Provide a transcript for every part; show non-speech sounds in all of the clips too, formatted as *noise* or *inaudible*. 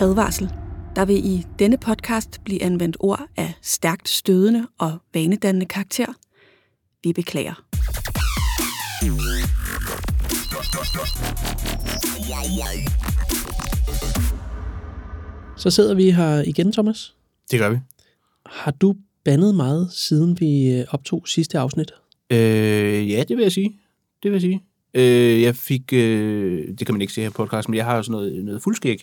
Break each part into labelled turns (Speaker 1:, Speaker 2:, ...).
Speaker 1: Advarsel. Der vil i denne podcast blive anvendt ord af stærkt stødende og vanedannende karakter. Vi beklager.
Speaker 2: Så sidder vi her igen, Thomas.
Speaker 3: Det gør vi.
Speaker 2: Har du bandet meget, siden vi øh, optog sidste afsnit?
Speaker 3: Øh, ja, det vil jeg sige. Det vil jeg sige. Øh, jeg fik, øh, det kan man ikke se her på podcast, men jeg har jo sådan noget, noget fuldskæg.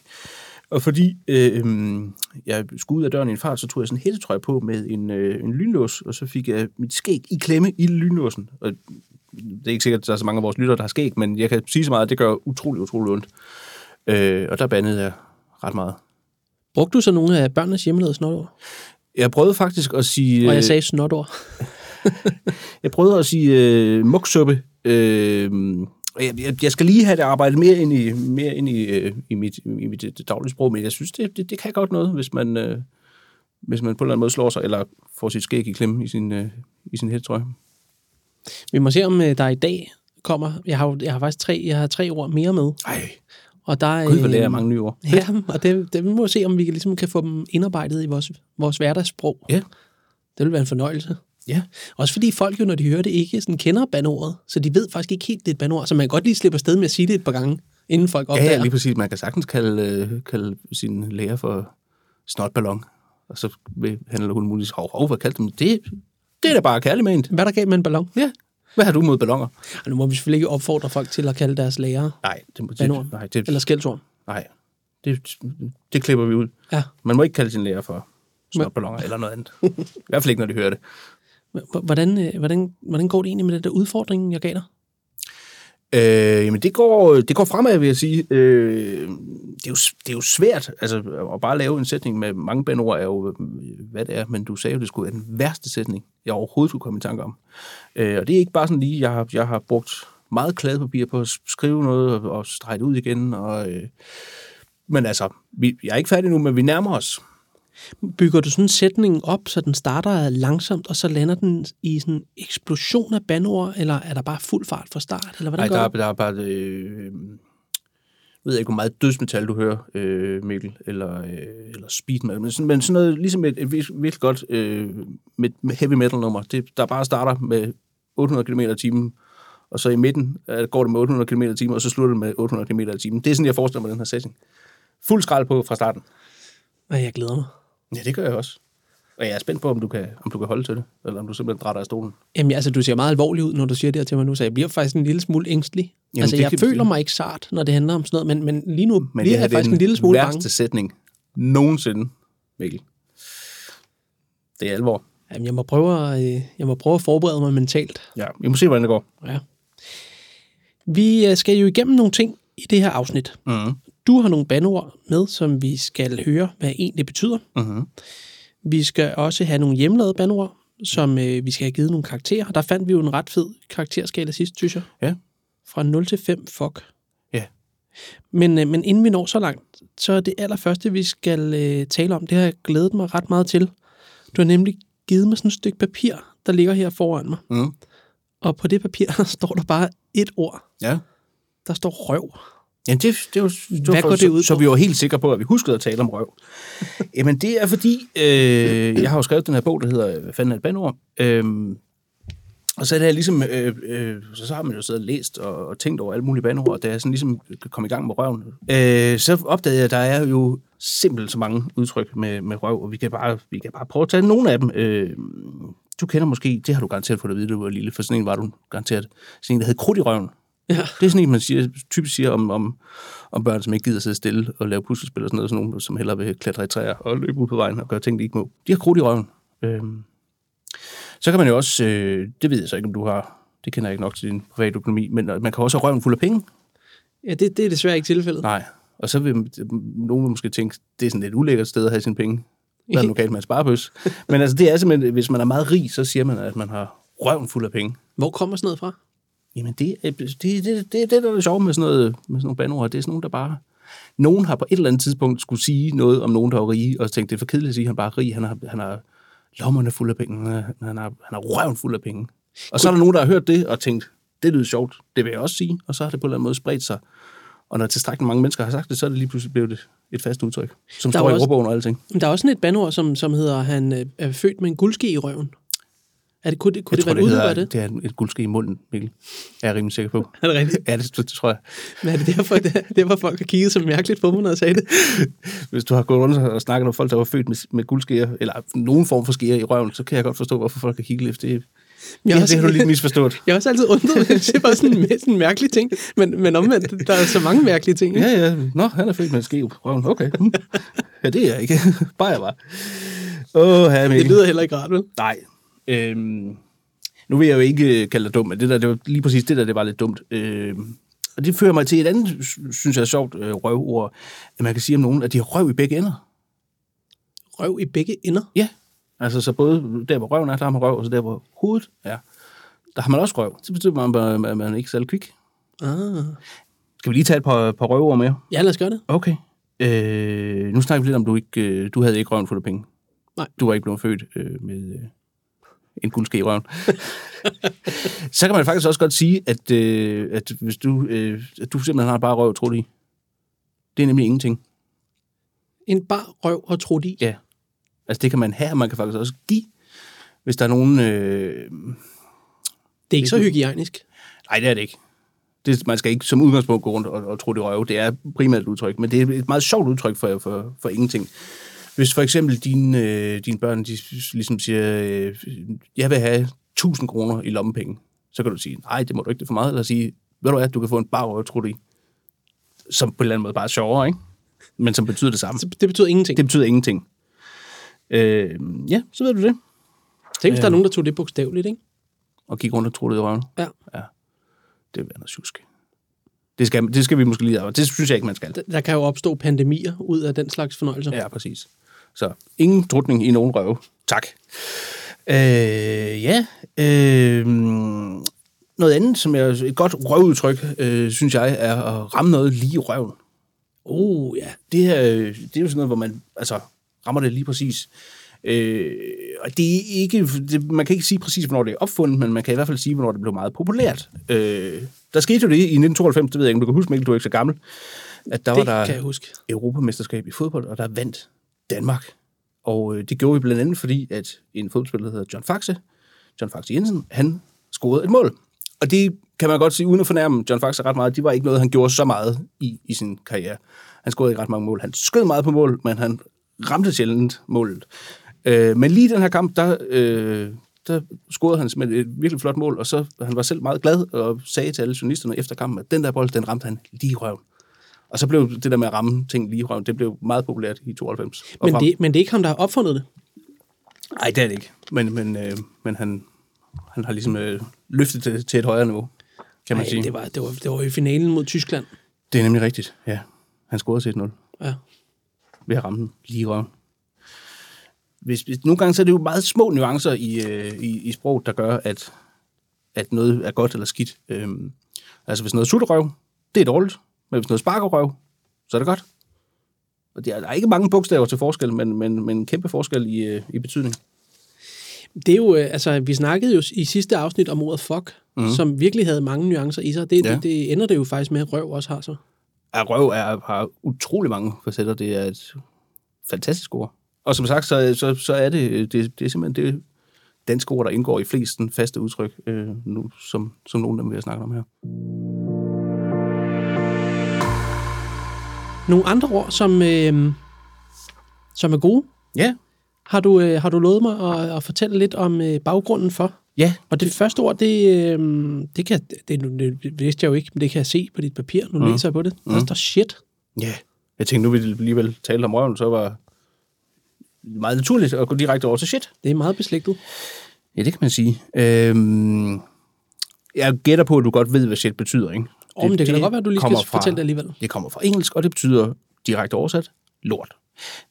Speaker 3: Og fordi øh, øhm, jeg skulle ud af døren i en fart, så tog jeg sådan en hættetrøje på med en, øh, en lynlås, og så fik jeg mit skæg i klemme i lynlåsen. Og det er ikke sikkert, at der er så mange af vores lyttere, der har skæg, men jeg kan sige så meget, at det gør utrolig, utrolig ondt. Øh, og der bandede jeg ret meget.
Speaker 2: Brugte du så nogle af børnenes hjemmelavede snotord?
Speaker 3: Jeg prøvede faktisk at sige...
Speaker 2: Og
Speaker 3: øh,
Speaker 2: jeg sagde snotord.
Speaker 3: Jeg prøvede at sige øh, mugsuppe. Øh, og jeg, jeg- jeg skal lige have det arbejdet mere ind i, mere ind i, øh, i mit, i mit øh, daglige sprog, men jeg synes, det, det, det kan godt noget, hvis man, øh, hvis man på en eller anden måde slår sig, eller får sit skæg i klemme i sin, øh, i sin hættrøje.
Speaker 2: Vi må se, om øh, der i dag kommer... Jeg har, jo- jeg har faktisk tre, jeg har tre ord mere med.
Speaker 3: Ej,
Speaker 2: Og der, er,
Speaker 3: gud, hvor
Speaker 2: øh,
Speaker 3: lærer jeg mange nye ord.
Speaker 2: *laughs* Ja, og det, det, vi må se, om vi kan, ligesom kan få dem indarbejdet i vores, vores hverdagssprog.
Speaker 3: Ja.
Speaker 2: Det vil være en fornøjelse.
Speaker 3: Ja.
Speaker 2: Også fordi folk jo, når de hører det, ikke sådan kender bandordet, så de ved faktisk ikke helt, det er et bandord, så man kan godt lige slippe afsted med at sige det et par gange, inden folk
Speaker 3: Ja,
Speaker 2: opdager.
Speaker 3: ja, lige præcis. Man kan sagtens kalde, øh, kalde sin lærer for snotballon, og så vil han eller hun muligvis, hov, hov, hvad kaldte dem? Det, det er da bare kærligt ment.
Speaker 2: Hvad er der galt med en ballon?
Speaker 3: Ja. Hvad har du mod ballonger?
Speaker 2: Og nu må vi selvfølgelig ikke opfordre folk til at kalde deres lærere
Speaker 3: Nej, det, det,
Speaker 2: Vandord.
Speaker 3: nej, det,
Speaker 2: eller skældsord.
Speaker 3: Nej, det, det klipper vi ud.
Speaker 2: Ja.
Speaker 3: Man må ikke kalde sin lærer for snotballoner eller noget andet. I hvert fald ikke, når de hører det.
Speaker 2: H- Hvordan, øh, hvordan, hvordan går det egentlig med den der udfordring, jeg gav dig?
Speaker 3: Øh, jamen, det går, det går fremad, vil jeg sige. Øh, det, er jo, det er jo svært. Altså, at bare lave en sætning med mange bandord er jo, øh, hvad det er. Men du sagde jo, det skulle være den værste sætning, jeg overhovedet kunne komme i tanke om. Øh, og det er ikke bare sådan lige, jeg har, jeg har brugt meget kladepapir på at skrive noget og, og strege det ud igen. Og, øh, men altså, vi, jeg er ikke færdig nu, men vi nærmer os.
Speaker 2: Bygger du sådan sætningen op, så den starter langsomt, og så lander den i sådan en eksplosion af bandord, eller er der bare fuld fart fra start? Eller hvordan gør
Speaker 3: Nej, der, er-
Speaker 2: du?
Speaker 3: der er bare... Øh, jeg ved ikke, hvor meget dødsmetal du hører, øh, Mikkel, eller, øh, eller speed metal, men sådan, men sådan noget, ligesom et, et vir- virkelig godt øh, med, med heavy metal nummer, det, der bare starter med 800 km i timen, og så i midten øh, går det med 800 km i timen, og så slutter det med 800 km i timen. Det er sådan, jeg forestiller mig den her sætning. Fuld skrald på fra starten.
Speaker 2: Ej, Jeg glæder mig.
Speaker 3: Ja, det gør jeg også. Og jeg er spændt på, om du kan, om du kan holde til det, eller om du simpelthen drætter af stolen.
Speaker 2: Jamen, altså, du ser meget alvorlig ud, når du siger det her til mig nu, så jeg bliver faktisk en lille smule ængstelig. Jamen,
Speaker 3: Jamen,
Speaker 2: altså,
Speaker 3: det
Speaker 2: jeg
Speaker 3: kan-
Speaker 2: føler mig ikke sart, når det handler om sådan noget, men, men lige nu
Speaker 3: Men
Speaker 2: bliver
Speaker 3: det her
Speaker 2: jeg
Speaker 3: det er
Speaker 2: faktisk
Speaker 3: den
Speaker 2: en lille smule
Speaker 3: værste
Speaker 2: bange.
Speaker 3: sætning nogensinde, Mikkel. Det er alvor.
Speaker 2: Jamen, jeg må, prøve at, øh, jeg må prøve at forberede mig mentalt.
Speaker 3: Ja, vi må se, hvordan det går.
Speaker 2: Ja. Vi øh, skal jo igennem nogle ting i det her afsnit.
Speaker 3: Mm-hmm.
Speaker 2: Du har nogle bandord med, som vi skal høre, hvad egentlig betyder.
Speaker 3: Mm-hmm.
Speaker 2: Vi skal også have nogle hjemmelavede bandord, som øh, vi skal have givet nogle karakterer. Der fandt vi jo en ret fed karakterskala sidst, synes jeg.
Speaker 3: Ja.
Speaker 2: Fra 0 til 5, fuck.
Speaker 3: Ja.
Speaker 2: Men, øh, men inden vi når så langt, så er det allerførste, vi skal øh, tale om, det har jeg glædet mig ret meget til. Du har nemlig givet mig sådan et stykke papir, der ligger her foran mig.
Speaker 3: Mm.
Speaker 2: Og på det papir *laughs* der står der bare et ord.
Speaker 3: Ja.
Speaker 2: Der står røv.
Speaker 3: Jamen, det, det var, det var
Speaker 2: Hvad går
Speaker 3: for-
Speaker 2: det ud
Speaker 3: så, så
Speaker 2: på?
Speaker 3: vi var helt sikre på, at vi huskede at tale om *laughs* røv. Jamen, det er fordi, øh, jeg har jo skrevet den her bog, der hedder Hvad fanden er et bandord? Øhm, og så er det her ligesom, øh, øh, så, så har man jo siddet og læst og, og tænkt over alle mulige bandord, og da jeg sådan ligesom kom i gang med røven, øh, så opdagede jeg, at der er jo simpelthen så mange udtryk med, med røv, og vi kan, bare, vi kan bare prøve at tage nogle af dem. Øh, du kender måske, det har du garanteret fået at vide, da du var lille, for sådan en var du garanteret, sådan en, der hed krudt i røven.
Speaker 2: Ja.
Speaker 3: Det er sådan en, man siger, typisk siger om, om, om børn, som ikke gider sidde stille og lave puslespil og sådan noget, sådan nogle, som hellere vil klatre i træer og løbe ud på vejen og gøre ting, de ikke må. De har krudt i røven. Øhm. Så kan man jo også, øh, det ved jeg så ikke, om du har, det kender jeg ikke nok til din private økonomi, men øh, man kan også have røven fuld af penge.
Speaker 2: Ja, det, det er desværre ikke tilfældet.
Speaker 3: Nej. Og så vil øh, nogen vil måske tænke, det er sådan et ulækkert sted at have sine penge. Hvad er der nu galt med en sparepøs? Men altså, det er simpelthen, hvis man er meget rig, så siger man, at man har røven fuld af penge.
Speaker 2: Hvor kommer sådan noget fra?
Speaker 3: Jamen, det er det, det, det, det, der er det sjove med sådan, noget, med sådan nogle bandord. Det er sådan nogle, der bare... Nogen har på et eller andet tidspunkt skulle sige noget om nogen, der var rige, og tænkte, det er for kedeligt at sige, at han bare er rig. Han har, han har lommerne fuld af penge. Han har, han har røven fuld af penge. Og så er der nogen, der har hørt det og tænkt, det lyder sjovt, det vil jeg også sige. Og så har det på en eller anden måde spredt sig. Og når tilstrækkeligt mange mennesker har sagt det, så er det lige pludselig blevet et, et fast udtryk, som
Speaker 2: Der
Speaker 3: står
Speaker 2: er
Speaker 3: i
Speaker 2: også-
Speaker 3: ordbogen og alting.
Speaker 2: Men der er også sådan et bandord, som, som hedder, han øh, er født med en guldske i røven. Er det, kunne det, kunne det være en udløber af det?
Speaker 3: det er et guldske i munden, Mikkel. Er jeg rimelig sikker på. *laughs*
Speaker 2: Er det rigtigt?
Speaker 3: Ja, det, det tror jeg.
Speaker 2: Men er det derfor, det, er- det var folk har kigget så mærkeligt på mig, når jeg sagde det?
Speaker 3: Hvis du har gået rundt og snakket om folk, der var født med, med guldskære, eller nogen form for skære i røven, så kan jeg godt forstå, hvorfor folk kan kigge lidt. Det,
Speaker 2: Jeg
Speaker 3: ja,
Speaker 2: har
Speaker 3: det
Speaker 2: også-
Speaker 3: har du lidt misforstået.
Speaker 2: Jeg har også altid undret mig, det er bare sådan en sådan en mærkelig ting. Men, men omvendt, der er så mange mærkelige ting.
Speaker 3: *laughs* Ja,
Speaker 2: Ikke?
Speaker 3: ja. Nå, han er født med en skæv på røven. Okay. Hmm. Ja, det er jeg ikke. *laughs* Bare jeg var. Åh, herre
Speaker 2: Det
Speaker 3: Mikkel.
Speaker 2: lyder heller ikke rart, vel?
Speaker 3: Nej. Øhm, nu vil jeg jo ikke øh, kalde dig dum, men det der, det var lige præcis det der, det var lidt dumt. Øhm, og det fører mig til et andet, sy- synes jeg er sjovt, øh, røvord, at man kan sige om nogen, at de har røv i begge ender.
Speaker 2: Røv i begge ender.
Speaker 3: Ja. Altså, så både der, hvor røven er, der har man røv, og så der, hvor hovedet er, der har man også røv. Så betyder man, bare, at man- man er ikke er særlig kvik.
Speaker 2: Ah.
Speaker 3: Skal vi lige tage et par, par røvord mere?
Speaker 2: Ja, lad os gøre det.
Speaker 3: Okay. Øh, nu snakker vi lidt om, du ikke, øh, du havde ikke røven fuld af penge.
Speaker 2: Nej.
Speaker 3: Du var ikke blevet født øh, med øh, en guldske i røven. *laughs* så kan man faktisk også godt sige, at, øh, at hvis du, øh, at du simpelthen har bare røv, tror de. Det er nemlig ingenting.
Speaker 2: En bar røv og trut i.
Speaker 3: Ja. Altså det kan man have, og man kan faktisk også give. Hvis der er nogen... Øh,
Speaker 2: Det er ikke så hygiejnisk.
Speaker 3: nej, det er det ikke. Det, man skal ikke som udgangspunkt gå rundt og, og tro det røve. Det er primært et udtryk, men det er et meget sjovt udtryk for, for, for ingenting. Hvis for eksempel dine, øh, dine børn de ligesom siger, øh, jeg vil have 1000 kroner i lommepenge, så kan du sige, nej, det må du ikke, det er for meget, eller sige, ved du hvad, du kan få en bar røv, tror du i. Som på en eller anden måde bare er sjovere, ikke? Men som betyder det samme.
Speaker 2: Så det betyder ingenting.
Speaker 3: Det betyder ingenting. Øh, ja, så ved du det.
Speaker 2: Tænk, hvis der er nogen, der tog det bogstaveligt, ikke?
Speaker 3: Og kigge rundt og tro det i røven.
Speaker 2: Ja.
Speaker 3: Det vil være noget tjusk. Det skal, det skal vi måske lige arbejde. Det synes jeg ikke, man skal.
Speaker 2: Der- Der kan jo opstå pandemier ud af den slags fornøjelser.
Speaker 3: Ja, præcis. Så ingen drutning i nogen røve. Tak. Øh, ja. Øh, noget andet, som er et godt røvudtryk, øh, synes jeg, er at ramme noget lige i røven.
Speaker 2: Oh, ja.
Speaker 3: Det her, øh, det er jo sådan noget, hvor man altså, rammer det lige præcis. Øh, og det er ikke, det, man kan ikke sige præcis, hvornår det er opfundet, men man kan i hvert fald sige, hvornår det blev meget populært. Øh, der skete jo det i 1992, det ved jeg ikke, om du kan huske, Mikkel, du er ikke så gammel, at der
Speaker 2: Det
Speaker 3: var der...
Speaker 2: kan jeg huske.
Speaker 3: Europamesterskab i fodbold, og der vandt Danmark. Og øh, det gjorde vi blandt andet, fordi at en fodboldspiller, der hedder John Faxe, John Faxe Jensen, han scorede et mål. Og det kan man godt sige, uden at fornærme John Faxe ret meget, det var ikke noget, han gjorde så meget i, i sin karriere. Han scorede ikke ret mange mål. Han skød meget på mål, men han ramte sjældent målet. Øh, men lige i den her kamp, der, øh, der scorede han med et virkelig flot mål, og så han var selv meget glad og sagde til alle journalisterne efter kampen, at den der bold, den ramte han lige i røven. Og så blev det der med at ramme ting lige i røven, det blev meget populært i 92. og
Speaker 2: Men
Speaker 3: frem.
Speaker 2: det, men det er ikke ham, der har opfundet det.
Speaker 3: Nej, det er det ikke. Men, men, øh, men han, han har ligesom øh, løftet det til et højere niveau, kan man
Speaker 2: Ej,
Speaker 3: sige.
Speaker 2: det,
Speaker 3: Det,
Speaker 2: var, det, var, det var i finalen mod Tyskland.
Speaker 3: det er nemlig rigtigt, ja. Han scorede til 1-0
Speaker 2: Ja.
Speaker 3: ved at ramme den lige i røven. Hvis, hvis, nogle gange så er det jo meget små nuancer i, øh, i, i sprog, der gør, at, at noget er godt eller skidt. Øhm, altså hvis noget sutter røv, det er dårligt. Men hvis noget sparker røv, så er det godt. Og der er, der er ikke mange bogstaver til forskel, men, men, men en kæmpe forskel i, øh, i betydning.
Speaker 2: Det er jo, øh, altså, vi snakkede jo i sidste afsnit om ordet fuck, mm. som virkelig havde mange nuancer i sig. Det, ja.
Speaker 3: Mhm. Ja.
Speaker 2: det, det ender det jo faktisk med, at røv også har så.
Speaker 3: at røv er, har utrolig mange facetter. Det er et fantastisk ord. Og som sagt, så, så, så er det, det, det er simpelthen det danske ord, der indgår i flesten faste udtryk, øh, nu, som, som nogle af dem, vi har snakket om her.
Speaker 2: Nogle andre ord, som, øh, som er gode,
Speaker 3: Ja,
Speaker 2: har du, øh, har du lovet mig at, at fortælle lidt om øh, baggrunden for.
Speaker 3: ja.
Speaker 2: Og det første ord, det, øh, det, kan, det, nu- det vidste jeg jo ikke, men det kan jeg se på dit papir.
Speaker 3: Mhm.
Speaker 2: Nu mm. læser jeg på det. Der står shit.
Speaker 3: ja. Jeg tænkte, nu vil vi alligevel tale om røven, så var det meget naturligt at gå direkte over til shit.
Speaker 2: Det er meget beslægtet.
Speaker 3: Ja, det kan man sige. Øhm, jeg gætter på, at du godt ved, hvad shit betyder, ikke?
Speaker 2: Åh, men det kan da godt være, at du lige skal
Speaker 3: kommer fra-
Speaker 2: fortælle det alligevel.
Speaker 3: Det kommer fra engelsk, og det betyder direkte oversat lort.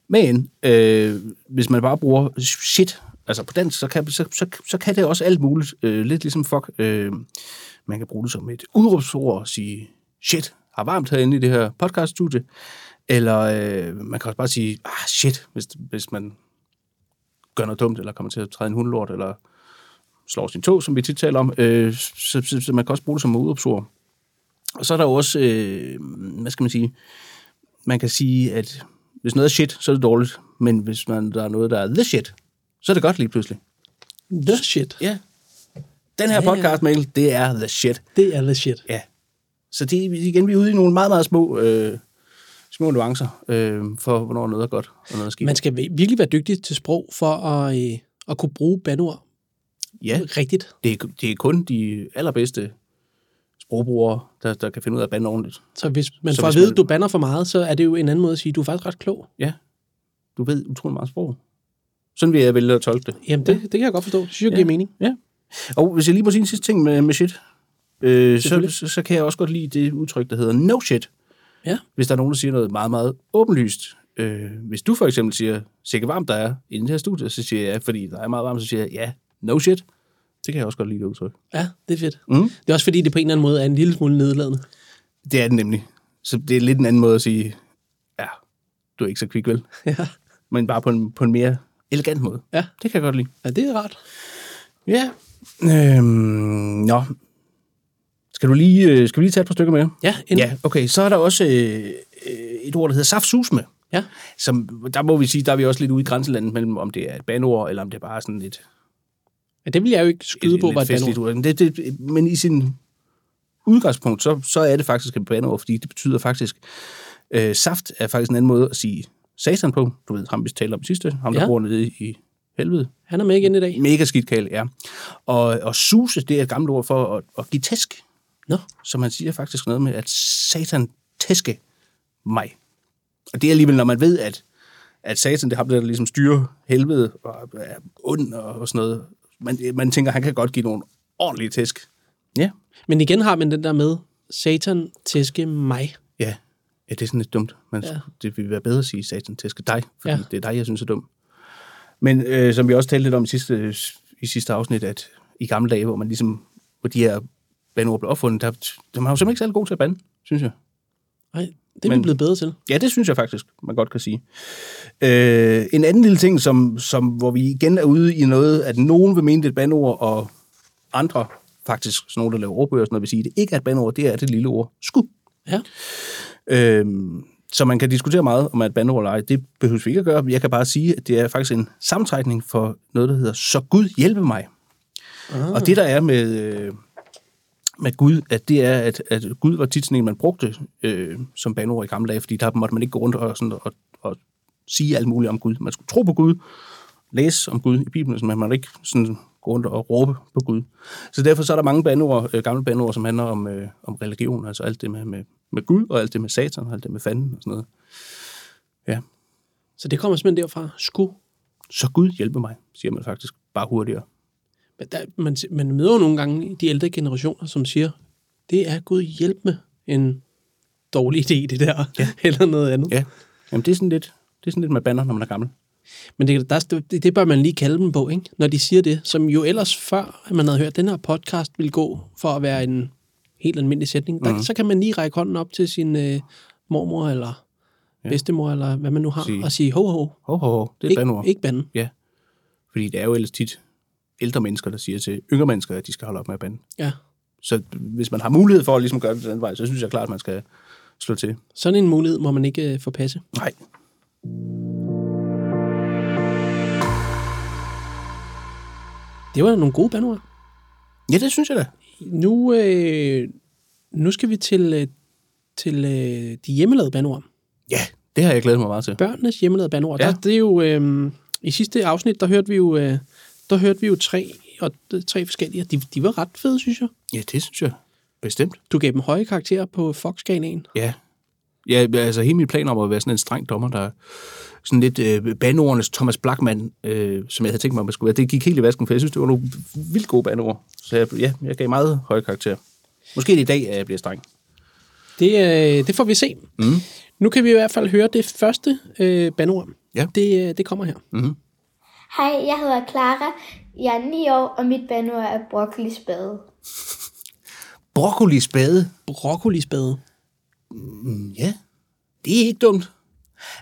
Speaker 3: Men øh, hvis man bare bruger shit, altså på dansk, så kan, så, så, så kan det også alt muligt. Øh, lidt ligesom fuck. Øh, man kan bruge det som et udråbsord og sige, shit, har varmt herinde i det her podcaststudie. Eller øh, man kan også bare sige, ah shit, hvis, hvis man gør noget dumt, eller kommer til at træde en hundlort, eller slår sin tog, som vi tit taler om. Øh, så, så, så man kan også bruge det som udråbsord. Og så er der jo også, øh, hvad skal man sige, man kan sige, at Hvis noget er shit, så er det dårligt. Men hvis man, der er noget, der er the shit, så er det godt lige pludselig.
Speaker 2: The shit.
Speaker 3: Ja. Den her
Speaker 2: Ja, ja.
Speaker 3: podcast, Mikkel, det er the shit.
Speaker 2: Det er the shit.
Speaker 3: Ja. Så det er igen, vi er ude i nogle meget, meget små, øh, små nuancer øh, for, hvornår noget er godt og noget er skidt.
Speaker 2: Man skal vi- virkelig være dygtig til sprog for at, øh, at kunne bruge bandord
Speaker 3: ja,
Speaker 2: rigtigt.
Speaker 3: det er, det er kun de allerbedste sprogbrugere, der, der kan finde ud af at bande ordentligt.
Speaker 2: Så hvis man
Speaker 3: Så
Speaker 2: får at
Speaker 3: hvis
Speaker 2: vide,
Speaker 3: man-
Speaker 2: at du banner for meget, så er det jo en anden måde at sige, at du er faktisk ret klog.
Speaker 3: Ja, du ved utrolig meget sprog. Sådan vil jeg vælge at tolke det.
Speaker 2: Jamen, det, det kan jeg godt forstå. Det synes jeg giver mening.
Speaker 3: Ja. Og hvis jeg lige må sige en sidste ting med, med shit, øh, så,
Speaker 2: Selvfølgelig.
Speaker 3: så, så kan jeg også godt lide det udtryk, der hedder no shit.
Speaker 2: Ja.
Speaker 3: Hvis der er nogen, der siger noget meget, meget åbenlyst. Øh, hvis du for eksempel siger, sikke varmt der er i det her studie, så siger jeg, fordi der er meget varmt, så siger jeg, ja, no shit. Det kan jeg også godt lide det udtryk.
Speaker 2: Ja, det er fedt.
Speaker 3: Mm.
Speaker 2: Det er også fordi, det på en eller anden måde er en lille smule nedladende.
Speaker 3: Det er det nemlig. Så det er lidt en anden måde at sige, ja, du er ikke så kvik, *laughs* vel?
Speaker 2: Ja,
Speaker 3: Men bare på en, på en mere elegant måde.
Speaker 2: Ja.
Speaker 3: Det kan jeg godt lide.
Speaker 2: ja det er rart.
Speaker 3: Ja. Øhm, nå. Skal, du lige, øh, skal vi lige tage et par stykker mere?
Speaker 2: Ja, en, ja.
Speaker 3: Ja, okay. Så er der også øh, øh, et ord, der hedder saftsusme.
Speaker 2: ja.
Speaker 3: Som, der må vi sige, der er vi også lidt ude i grænselandet mellem, om det er et banord, eller om det er bare sådan et,
Speaker 2: ja det vil jeg jo ikke skyde
Speaker 3: et,
Speaker 2: på,
Speaker 3: lidt
Speaker 2: var et
Speaker 3: festligt
Speaker 2: bandord.
Speaker 3: ord. Men Det, det, men i sin udgangspunkt, så, så er det faktisk et banord, fordi det betyder faktisk, øh, saft er faktisk en anden måde at sige satan på. Du ved, ham vi talte om sidste, ham der
Speaker 2: Ja.
Speaker 3: bor nede i helvede.
Speaker 2: Han er med igen i dag.
Speaker 3: Mega skidt kale, ja. Og, og suse, det er et gammelt ord for at, at give tæsk.
Speaker 2: Nå,
Speaker 3: Så man siger faktisk noget med, at satan tæske mig. Og det er alligevel, når man ved, at, at satan, det er ham, der ligesom styrer helvede og er ond og, og sådan noget. Man, man tænker, han kan godt give nogle ordentlige tæsk. Ja.
Speaker 2: men igen har man den der med, Satan tæske mig.
Speaker 3: Ja. Ja, det er sådan lidt dumt. Man,
Speaker 2: Ja.
Speaker 3: ja. Det ville være bedre at sige satan tæske dig, fordi
Speaker 2: Ja.
Speaker 3: ja. det er dig, jeg synes er dum. Men øh, som vi også talte lidt om i sidste, i sidste afsnit, at i gamle dage, hvor man ligesom, hvor de her bandord blev opfundet, der, der var jo simpelthen ikke særlig god til at bande, synes jeg.
Speaker 2: Nej, det er vi
Speaker 3: Men-
Speaker 2: blevet bedre til.
Speaker 3: Ja, det synes jeg faktisk, man godt kan sige. Øh, en anden lille ting, som, som, hvor vi igen er ude i noget, at nogen vil mene, det er et bandord, og andre, faktisk sådan nogen, der laver ordbøger og sådan noget, vil sige, det ikke er et bandord, det er det lille ord, sku.
Speaker 2: Ja.
Speaker 3: Øh, så man kan diskutere meget, om man er et bandord eller ej. Det behøver vi ikke at gøre. Jeg kan bare sige, at det er faktisk en sammentrækning for noget, der hedder, så Gud hjælpe mig.
Speaker 2: Ah,
Speaker 3: Og det der er med, øh, med Gud, at det er, at, at Gud var tit sådan en, man brugte øh, som banord i gamle dage, fordi der måtte man ikke gå rundt og, sådan, og, og sige alt muligt om Gud. Man skulle tro på Gud, læse om Gud i Bibelen, så man måtte ikke sådan gå rundt og råbe på Gud. Så derfor så er der mange banord, øh, gamle banord, som handler om, øh, om religion, altså alt det med, med, med Gud, og alt det med satan, og alt det med fanden og sådan noget. Ja,
Speaker 2: så det kommer simpelthen derfra. Sku.
Speaker 3: så Gud hjælpe mig, siger man faktisk bare hurtigere.
Speaker 2: Men der, man, man møder jo nogle gange de ældre generationer, som siger, det er Gud hjælp med en dårlig idé, det der, ja. *laughs* eller noget andet.
Speaker 3: Ja, Jamen, det er sådan lidt, det er sådan lidt med bander, når man er gammel.
Speaker 2: Men det, der, det, det bør man lige kalde dem på, ikke? når de siger det, som jo ellers før, at man havde hørt, at den her podcast ville gå for at være en helt almindelig sætning,
Speaker 3: Mhm.
Speaker 2: der, mm. så kan man lige række hånden op til sin øh, mormor eller ja. bedstemor, eller hvad man nu har, sige.
Speaker 3: Sige.
Speaker 2: og sige ho ho,
Speaker 3: Ho, ho, ho. Det er et
Speaker 2: ikke,
Speaker 3: bandord.
Speaker 2: ikke bande.
Speaker 3: Ja. Fordi det er jo ellers tit ældre mennesker, der siger til yngre mennesker, at de skal holde op med at bande.
Speaker 2: Ja.
Speaker 3: Så hvis man har mulighed for at ligesom gøre det den vej, så synes jeg klart, at man skal slå til.
Speaker 2: Sådan en mulighed må man ikke øh, forpasse.
Speaker 3: Nej.
Speaker 2: Det var nogle gode bandord.
Speaker 3: Ja, det synes jeg da.
Speaker 2: Nu, øh, nu skal vi til, øh, til øh, de hjemmelavede bandord.
Speaker 3: Ja, det har jeg glædet mig meget til.
Speaker 2: Børnenes hjemmelavede bandord. Ja.
Speaker 3: Ja.
Speaker 2: Der, det er jo, øh, I sidste afsnit, der hørte vi jo, øh, der hørte vi jo tre, og øh, tre forskellige. og De, de var ret fede, synes jeg.
Speaker 3: Ja, det synes jeg. Bestemt.
Speaker 2: Du gav dem høje karakterer på Fox-skalaen.
Speaker 3: Ja. Ja, altså hele min plan om at være sådan en streng dommer, der sådan lidt øh, bandeordenes Thomas Blackman, øh, som jeg havde tænkt mig, at man skulle være. Det gik helt i vasken, for jeg synes, det var nogle vildt gode bandeord. Så jeg, ja, jeg gav meget høje karakterer. Måske er det i dag, at jeg bliver streng.
Speaker 2: Det, øh, det får vi se. Mm. Nu kan vi i hvert fald høre det første øh, bandord.
Speaker 3: Ja.
Speaker 2: Det, øh, det kommer her. Mm.
Speaker 4: Hej, jeg hedder Clara. Jeg er 9 år, og mit banord er broccoli spade.
Speaker 3: Broccoli spade.
Speaker 2: Broccolispade.
Speaker 3: Ja, det er ikke dumt.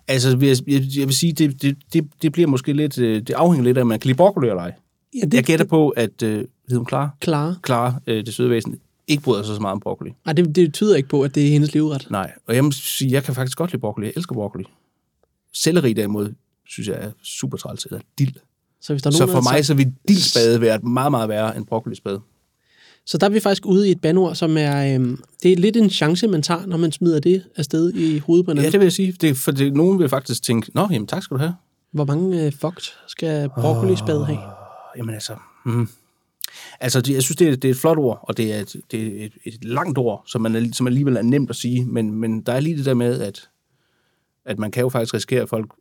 Speaker 3: Altså, jeg, jeg, jeg vil sige, det, det, det, det bliver måske lidt... øh, Det afhænger lidt af, om man kan lide broccoli eller ej.
Speaker 2: Ja, det
Speaker 3: Jeg gætter på, at... Øh, hed hun Clara?
Speaker 2: Klare.
Speaker 3: Clara, øh, det søde væsen, ikke bryder sig så meget om broccoli.
Speaker 2: Ej, det, det tyder ikke på, at det er hendes livret.
Speaker 3: Nej, og jeg må sige, jeg kan faktisk godt lide broccoli. Jeg elsker broccoli. Selleri derimod, synes jeg er super træls, eller dild.
Speaker 2: Så, hvis der er
Speaker 3: Så
Speaker 2: nogen, der
Speaker 3: for
Speaker 2: har
Speaker 3: mig
Speaker 2: sagt-
Speaker 3: så vil dildspade være et meget, meget værre end broccolispade.
Speaker 2: så der er vi faktisk ude i et bandord, som er... Øhm, det er lidt en chance, man tager, når man smider det afsted i hovedet på en
Speaker 3: Ja,
Speaker 2: anden.
Speaker 3: det vil jeg sige. Det, for det, nogen vil faktisk tænke, nå, jamen tak skal du have.
Speaker 2: Hvor mange øh, fugt skal broccolispade have?
Speaker 3: Jamen altså, mm. altså det, jeg synes, det er, det er et flot ord, og det er et, det er et, et langt ord, som, man, er- som alligevel er nemt at sige, men, men der er lige det der med, at, at man kan jo faktisk risikere, at folk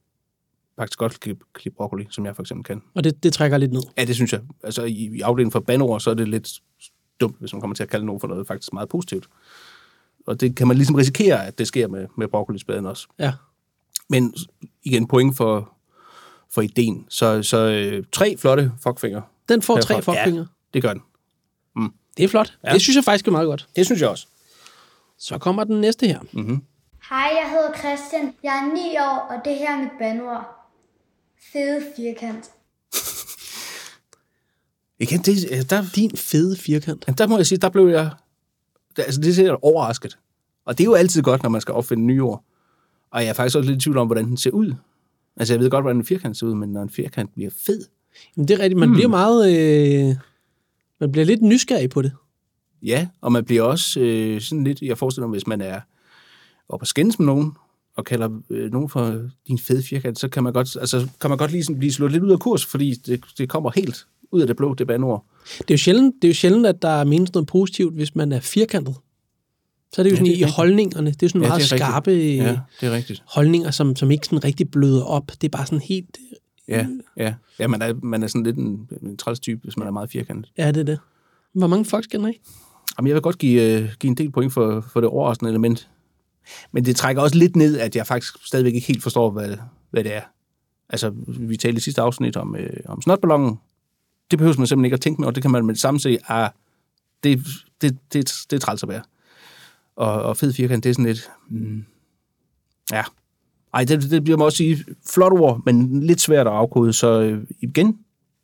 Speaker 3: faktisk godt kan klippe, klippe broccoli, som jeg for eksempel kan.
Speaker 2: Og det, det trækker lidt ned.
Speaker 3: Ja, det synes jeg. Altså i, i afdelingen for bandord, så er det lidt dumt, hvis man kommer til at kalde nogen for noget faktisk meget positivt. Og det kan man ligesom risikere, at det sker med, med broccolispaden også.
Speaker 2: Ja.
Speaker 3: Men igen, point for, for ideen. Så, så øh, tre flotte fuckfinger.
Speaker 2: Den får tre
Speaker 3: Herfra.
Speaker 2: fuckfinger. Ja.
Speaker 3: Det gør den.
Speaker 2: Det er flot. Ja. Det synes jeg faktisk er meget godt.
Speaker 3: Det synes jeg også.
Speaker 2: Så kommer den næste her.
Speaker 3: Mm.
Speaker 4: Hej, jeg hedder Christian. Jeg er 9 år, og det her er mit bandord. Fede firkant.
Speaker 3: Igen, det, øh, der,
Speaker 2: Din fede firkant.
Speaker 3: der må jeg sige, der blev jeg... Der, altså, det ser jeg overrasket. Og det er jo altid godt, når man skal opfinde nye ord. Og jeg er faktisk også lidt i tvivl om, hvordan den ser ud. Altså, jeg ved godt, hvordan en firkant ser ud, men når en firkant bliver fed...
Speaker 2: Jamen, det er rigtigt. Man mm. bliver meget... Øh, man bliver lidt nysgerrig på det.
Speaker 3: Ja, og man bliver også øh, sådan lidt... Jeg forestiller mig, hvis man er oppe og skændes med nogen, og kalder øh, nogen for din fede firkant, så kan man godt, altså, kan man godt lige sådan blive slået lidt ud af kurs, fordi det, det kommer helt ud af det blå, det bandord.
Speaker 2: Det er, jo sjældent, det er jo sjældent, at der er menes noget positivt, hvis man er firkantet. Så er det jo
Speaker 3: Ja,
Speaker 2: sådan
Speaker 3: det er
Speaker 2: i
Speaker 3: rigtigt.
Speaker 2: holdningerne. Det er jo sådan
Speaker 3: Ja,
Speaker 2: ja, meget
Speaker 3: det er rigtigt.
Speaker 2: skarpe øh,
Speaker 3: Ja, det er rigtigt.
Speaker 2: holdninger, som, som ikke sådan rigtig bløder op. Det er bare sådan helt...
Speaker 3: Ja, ja. ja man, er, man er sådan lidt en, en træls type, hvis man er meget firkantet.
Speaker 2: Ja, det er det. Hvor mange folk skal den have?
Speaker 3: Jamen, jeg vil godt give, øh, give en del point for, for det overraskende element. Men det trækker også lidt ned, at jeg faktisk stadigvæk ikke helt forstår, hvad, hvad det er. Altså, vi talte i sidste afsnit om, øh, om snotballonen. Det behøver man simpelthen ikke at tænke med, og det kan man med det samme se, ah, det, det, det, det er træls at være. Og, og fed firkant, det er sådan lidt... Mm, ja. Ej, det, det bliver man også sige flot ord, men lidt svært at afkode. Så øh, igen,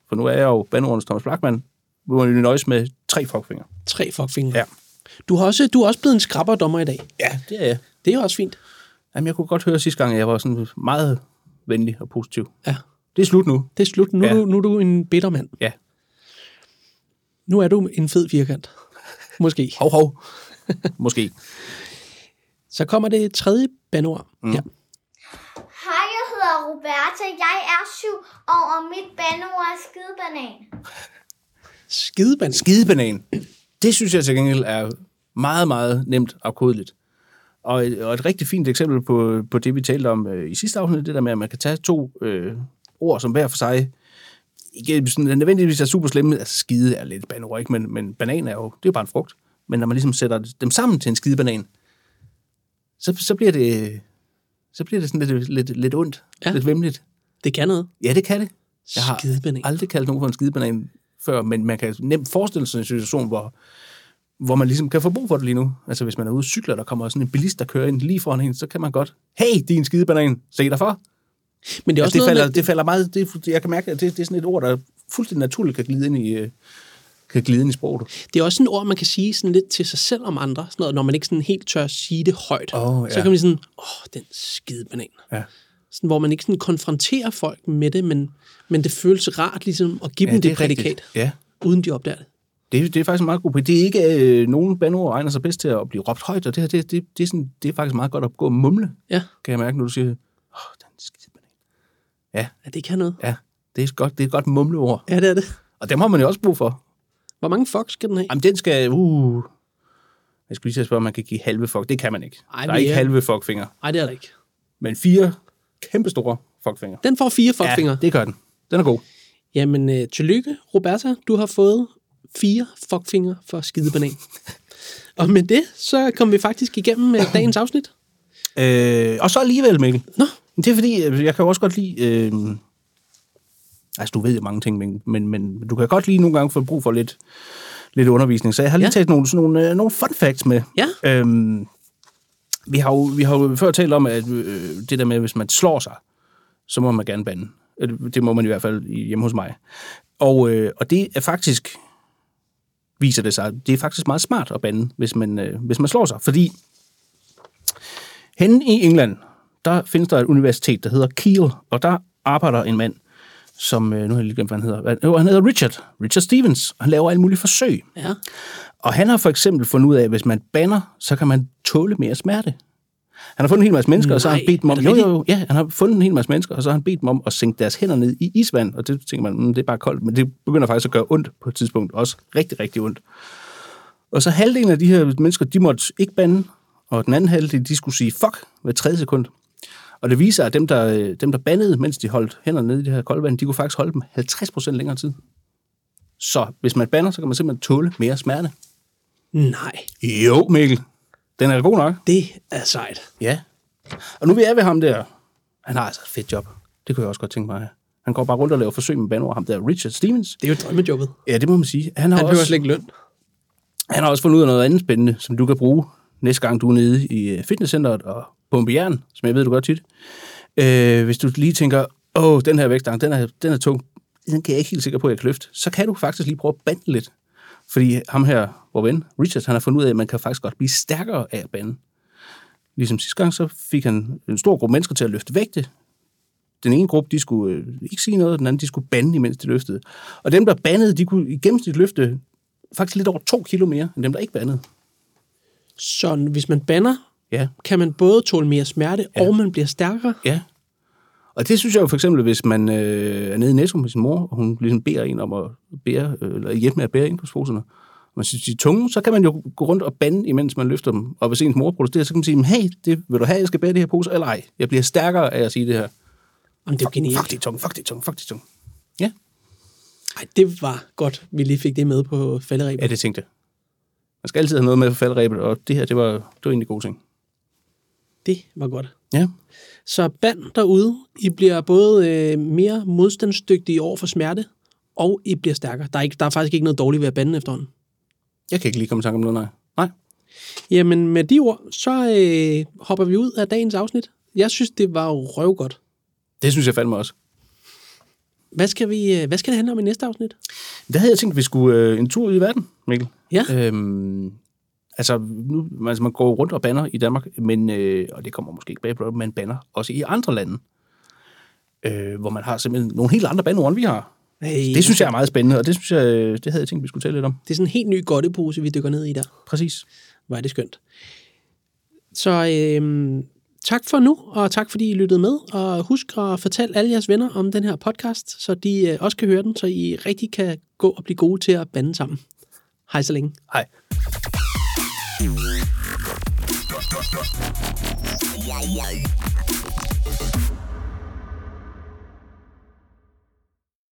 Speaker 3: for nu er jeg jo bandordens Thomas Blackman, må man jo nøjes med tre fuckfinger.
Speaker 2: Tre fuckfingre.
Speaker 3: Ja.
Speaker 2: Du, har også, du er også blevet en skrabberdommer i dag.
Speaker 3: Ja, det er jeg.
Speaker 2: Det er jo også fint.
Speaker 3: Jamen, jeg kunne godt høre sidste gang, at jeg var sådan meget venlig og positiv.
Speaker 2: Ja.
Speaker 3: Det er slut nu.
Speaker 2: Det er slut. Nu, ja.
Speaker 3: Ja.
Speaker 2: du, nu er du en bitter mand.
Speaker 3: Ja.
Speaker 2: Nu er du en fed firkant. Måske.
Speaker 3: Hov, hov. Måske.
Speaker 2: Så kommer det tredje bandord. Mm. Ja.
Speaker 4: Hej, jeg hedder Roberta. Jeg er 7 år, og mit bandord er skidebanan.
Speaker 2: Skideband.
Speaker 3: Skidebanan. Det synes jeg til gengæld er meget, meget nemt og kodeligt. Og et, og et rigtig fint eksempel på, på det, vi talte om øh, i sidste afsnit, det der med, at man kan tage to øh, ord, som hver for sig ikke sådan, nødvendigvis er super slemme. Altså skide er lidt banord, ikke? Men, men banan er jo, det er jo bare en frugt. Men når man ligesom sætter dem sammen til en skidebanan, så, så bliver det så bliver det sådan lidt, lidt, lidt ondt,
Speaker 2: Ja.
Speaker 3: ja. lidt vemmeligt.
Speaker 2: Det kan noget.
Speaker 3: Ja, det kan det. Jeg har
Speaker 2: Skidebanan.
Speaker 3: aldrig kaldt nogen for en skidebanan før, men man kan nemt forestille sig en situation, hvor, hvor man ligesom kan få brug for det lige nu. Altså hvis man er ude og cykler, der kommer sådan en bilist, der kører ind lige foran en, så kan man godt, hey, din skidebanan, se dig for.
Speaker 2: Men det er
Speaker 3: Altså,
Speaker 2: også
Speaker 3: det,
Speaker 2: noget
Speaker 3: falder,
Speaker 2: med,
Speaker 3: det falder meget, det, er- jeg kan mærke, at det, det er sådan et ord, der fuldstændig naturligt kan glide ind i, øh, kan glide ind i sproget.
Speaker 2: Det er også sådan et ord, man kan sige sådan lidt til sig selv om andre, sådan noget, når man ikke sådan helt tør sige det højt.
Speaker 3: Åh, ja.
Speaker 2: Så kan man sådan, åh, oh, den skide banan.
Speaker 3: Ja.
Speaker 2: Sådan, hvor man ikke sådan konfronterer folk med det, men, men det føles rart ligesom at give ja, dem det, det prædikat, rigtigt.
Speaker 3: Ja,
Speaker 2: uden de opdager det.
Speaker 3: det, det er faktisk en meget god på. Det er ikke, øh, nogen bandord egner sig bedst til at blive råbt højt, og det her, det, det, det, er, sådan, det er faktisk meget godt at gå og mumle,
Speaker 2: Ja,
Speaker 3: kan jeg mærke, når du siger, åh, oh, den skidebanan.
Speaker 2: ja det kan noget.
Speaker 3: Ja, det er, et godt, det er et godt mumleord.
Speaker 2: Ja, det er det.
Speaker 3: Og dem har man jo også brug for.
Speaker 2: Hvor mange fuck skal den have?
Speaker 3: Jamen, den skal... Uh, jeg skulle lige til at spørge, om man kan give halve fuck. Det kan man ikke.
Speaker 2: Ej,
Speaker 3: Ej, der er
Speaker 2: men
Speaker 3: ikke
Speaker 2: ja.
Speaker 3: halve fuckfinger.
Speaker 2: Nej, det er det ikke.
Speaker 3: Men fire kæmpestore fuckfinger.
Speaker 2: Den får fire fuckfingre.
Speaker 3: Ja, det gør den. Den er god.
Speaker 2: Jamen, øh, tillykke, Roberta. Du har fået fire fuckfingre for skidebanan. *laughs* Og med det, så kom vi faktisk igennem øh, dagens afsnit.
Speaker 3: Øh, og så alligevel, Mikkel.
Speaker 2: Nå,
Speaker 3: Men Det er fordi, øh, jeg kan jo også godt lide... Øh, altså, du ved jo mange ting, Mikkel, men, men du kan godt lige nogle gange få brug for lidt, lidt undervisning. Så jeg har lige
Speaker 2: Ja.
Speaker 3: ja. taget nogle, sådan nogle, øh, nogle fun facts med.
Speaker 2: Ja.
Speaker 3: Øhm, vi, har jo, vi har jo før talt om, at øh, det der med, at hvis man slår sig, så må man gerne bande. Eller Det må man i hvert fald i- hjemme hos mig. Og, øh, og det er faktisk, viser det sig, det er faktisk meget smart at bande, hvis man, øh, hvis man slår sig. Fordi hen i England, der findes der et universitet, der hedder Kiel, og der arbejder en mand, som, øh, nu har jeg lige glemt, hvad han hedder. Hvad- Jo, han hedder Richard. Richard Stevens. og Han laver alle mulige forsøg.
Speaker 2: Ja.
Speaker 3: Og han har for eksempel fundet ud af, at hvis man banner, så kan man tåle mere smerte. Han har fundet en hel masse mennesker, Nej, og så har han
Speaker 2: Nej,
Speaker 3: bedt dem
Speaker 2: er
Speaker 3: om...
Speaker 2: det
Speaker 3: Jo, jo,
Speaker 2: rigtigt?
Speaker 3: jo, ja, han har fundet en hel masse mennesker, og så har han bedt dem om at sænke deres hænder ned i isvand. Og det tænker man, mm, det er bare koldt, men det begynder faktisk at gøre ondt på et tidspunkt. Også rigtig, rigtig ondt. Og så halvdelen af de her mennesker, de måtte ikke bande, og den anden halvdel, de skulle sige fuck hver tredje sekund. Og det viser, at dem der, øh, dem, der bandede, mens de holdt hænderne nede i det her koldvand, de kunne faktisk holde dem 50% længere tid. Så hvis man bander, så kan man simpelthen tåle mere smerte.
Speaker 2: Nej,
Speaker 3: Jo, Mikkel. Den er god nok.
Speaker 2: det er sejt.
Speaker 3: Ja. Og nu vi er ved ham der. Han har altså et fedt job. Det kunne jeg også godt tænke mig. at have. Han går bare rundt og laver forsøg med banord. Ham der Richard Stevens.
Speaker 2: Det er jo drømmejobbet.
Speaker 3: Ja, det må man sige. Han har,
Speaker 2: Han
Speaker 3: også,
Speaker 2: behøver slet ikke løn.
Speaker 3: han har også fundet ud af noget andet spændende, som du kan bruge næste gang, du er nede i øh, fitnesscenteret og pumpe jern, som jeg ved, du gør tit. Øh, hvis du lige tænker, åh, den her vægtstang, den er, den er tung. Den kan jeg ikke helt sikker på, at jeg kan løfte. Så kan du faktisk lige prøve at bande lidt. Fordi ham her, vor ven, Richard, han har fundet ud af, at man kan faktisk godt blive stærkere af at bande. Ligesom sidste gang, så fik han en stor gruppe mennesker til at løfte vægte. Den ene gruppe, de skulle øh, ikke sige noget, og den anden, de skulle bande, imens de løftede. Og dem, der bandede, de kunne i gennemsnit løfte faktisk lidt over to kilo mere, end dem, der ikke bandede.
Speaker 2: Så hvis man banner,
Speaker 3: Ja,
Speaker 2: kan man både tåle mere smerte, ja. og man bliver stærkere.
Speaker 3: Ja. Og det synes jeg jo for eksempel, hvis man øh, er nede i Netto med sin mor, og hun ligesom beder en om at bære, øh, eller hjælpe med at bære indkøbsposerne, og man synes, de er tunge, så kan man jo gå rundt og bande, imens man løfter dem. Og hvis ens mor protesterer, så kan man sige, hey, det vil du have, jeg skal bære det her pose, eller ej, jeg bliver stærkere af at sige det her.
Speaker 2: Jamen, det er jo
Speaker 3: Fuck,
Speaker 2: genialt.
Speaker 3: det er tunge, fuck, det er tunge, fuck, det er tunge.
Speaker 2: Ej, det var godt, vi lige fik det med på falderæbet.
Speaker 3: Ja, det tænkte jeg. Man skal altid have noget med for faldrebet, og det her, det var, det var egentlig en god ting.
Speaker 2: Det var godt.
Speaker 3: Ja.
Speaker 2: Så band derude, I bliver både øh, mere modstandsdygtige over for smerte, og I bliver stærkere. Der er, ikke, der er faktisk ikke noget dårligt ved at bande efterhånden.
Speaker 3: Jeg kan ikke lige komme i tanke om noget, nej. Nej.
Speaker 2: Jamen, med de ord, så øh, hopper vi ud af dagens afsnit. Jeg synes, det var røvgodt.
Speaker 3: Det synes jeg fandme også.
Speaker 2: Hvad skal, vi, øh, hvad skal det handle om i næste afsnit?
Speaker 3: Der havde jeg tænkt, at vi skulle øh, en tur ud i verden, Mikkel.
Speaker 2: Ja.
Speaker 3: Øhm, altså, nu, altså, man går jo rundt og banner i Danmark, men, øh, og det kommer måske ikke bag på dig, man banner også i andre lande, øh, hvor man har simpelthen nogle helt andre bandeord, end vi har.
Speaker 2: Hey,
Speaker 3: Det synes jeg er meget spændende, og det, synes jeg, øh, det havde jeg tænkt, vi skulle tale lidt om.
Speaker 2: Øh, Det er sådan en helt ny godtepose, vi dykker ned i der.
Speaker 3: Præcis.
Speaker 2: Var det skønt. Så øh, tak for nu, og tak fordi I lyttede med. Og husk at fortælle alle jeres venner om den her podcast, så de øh, også kan høre den, så I rigtig kan gå og blive gode til at bande sammen. Hej så længe.
Speaker 3: Hej.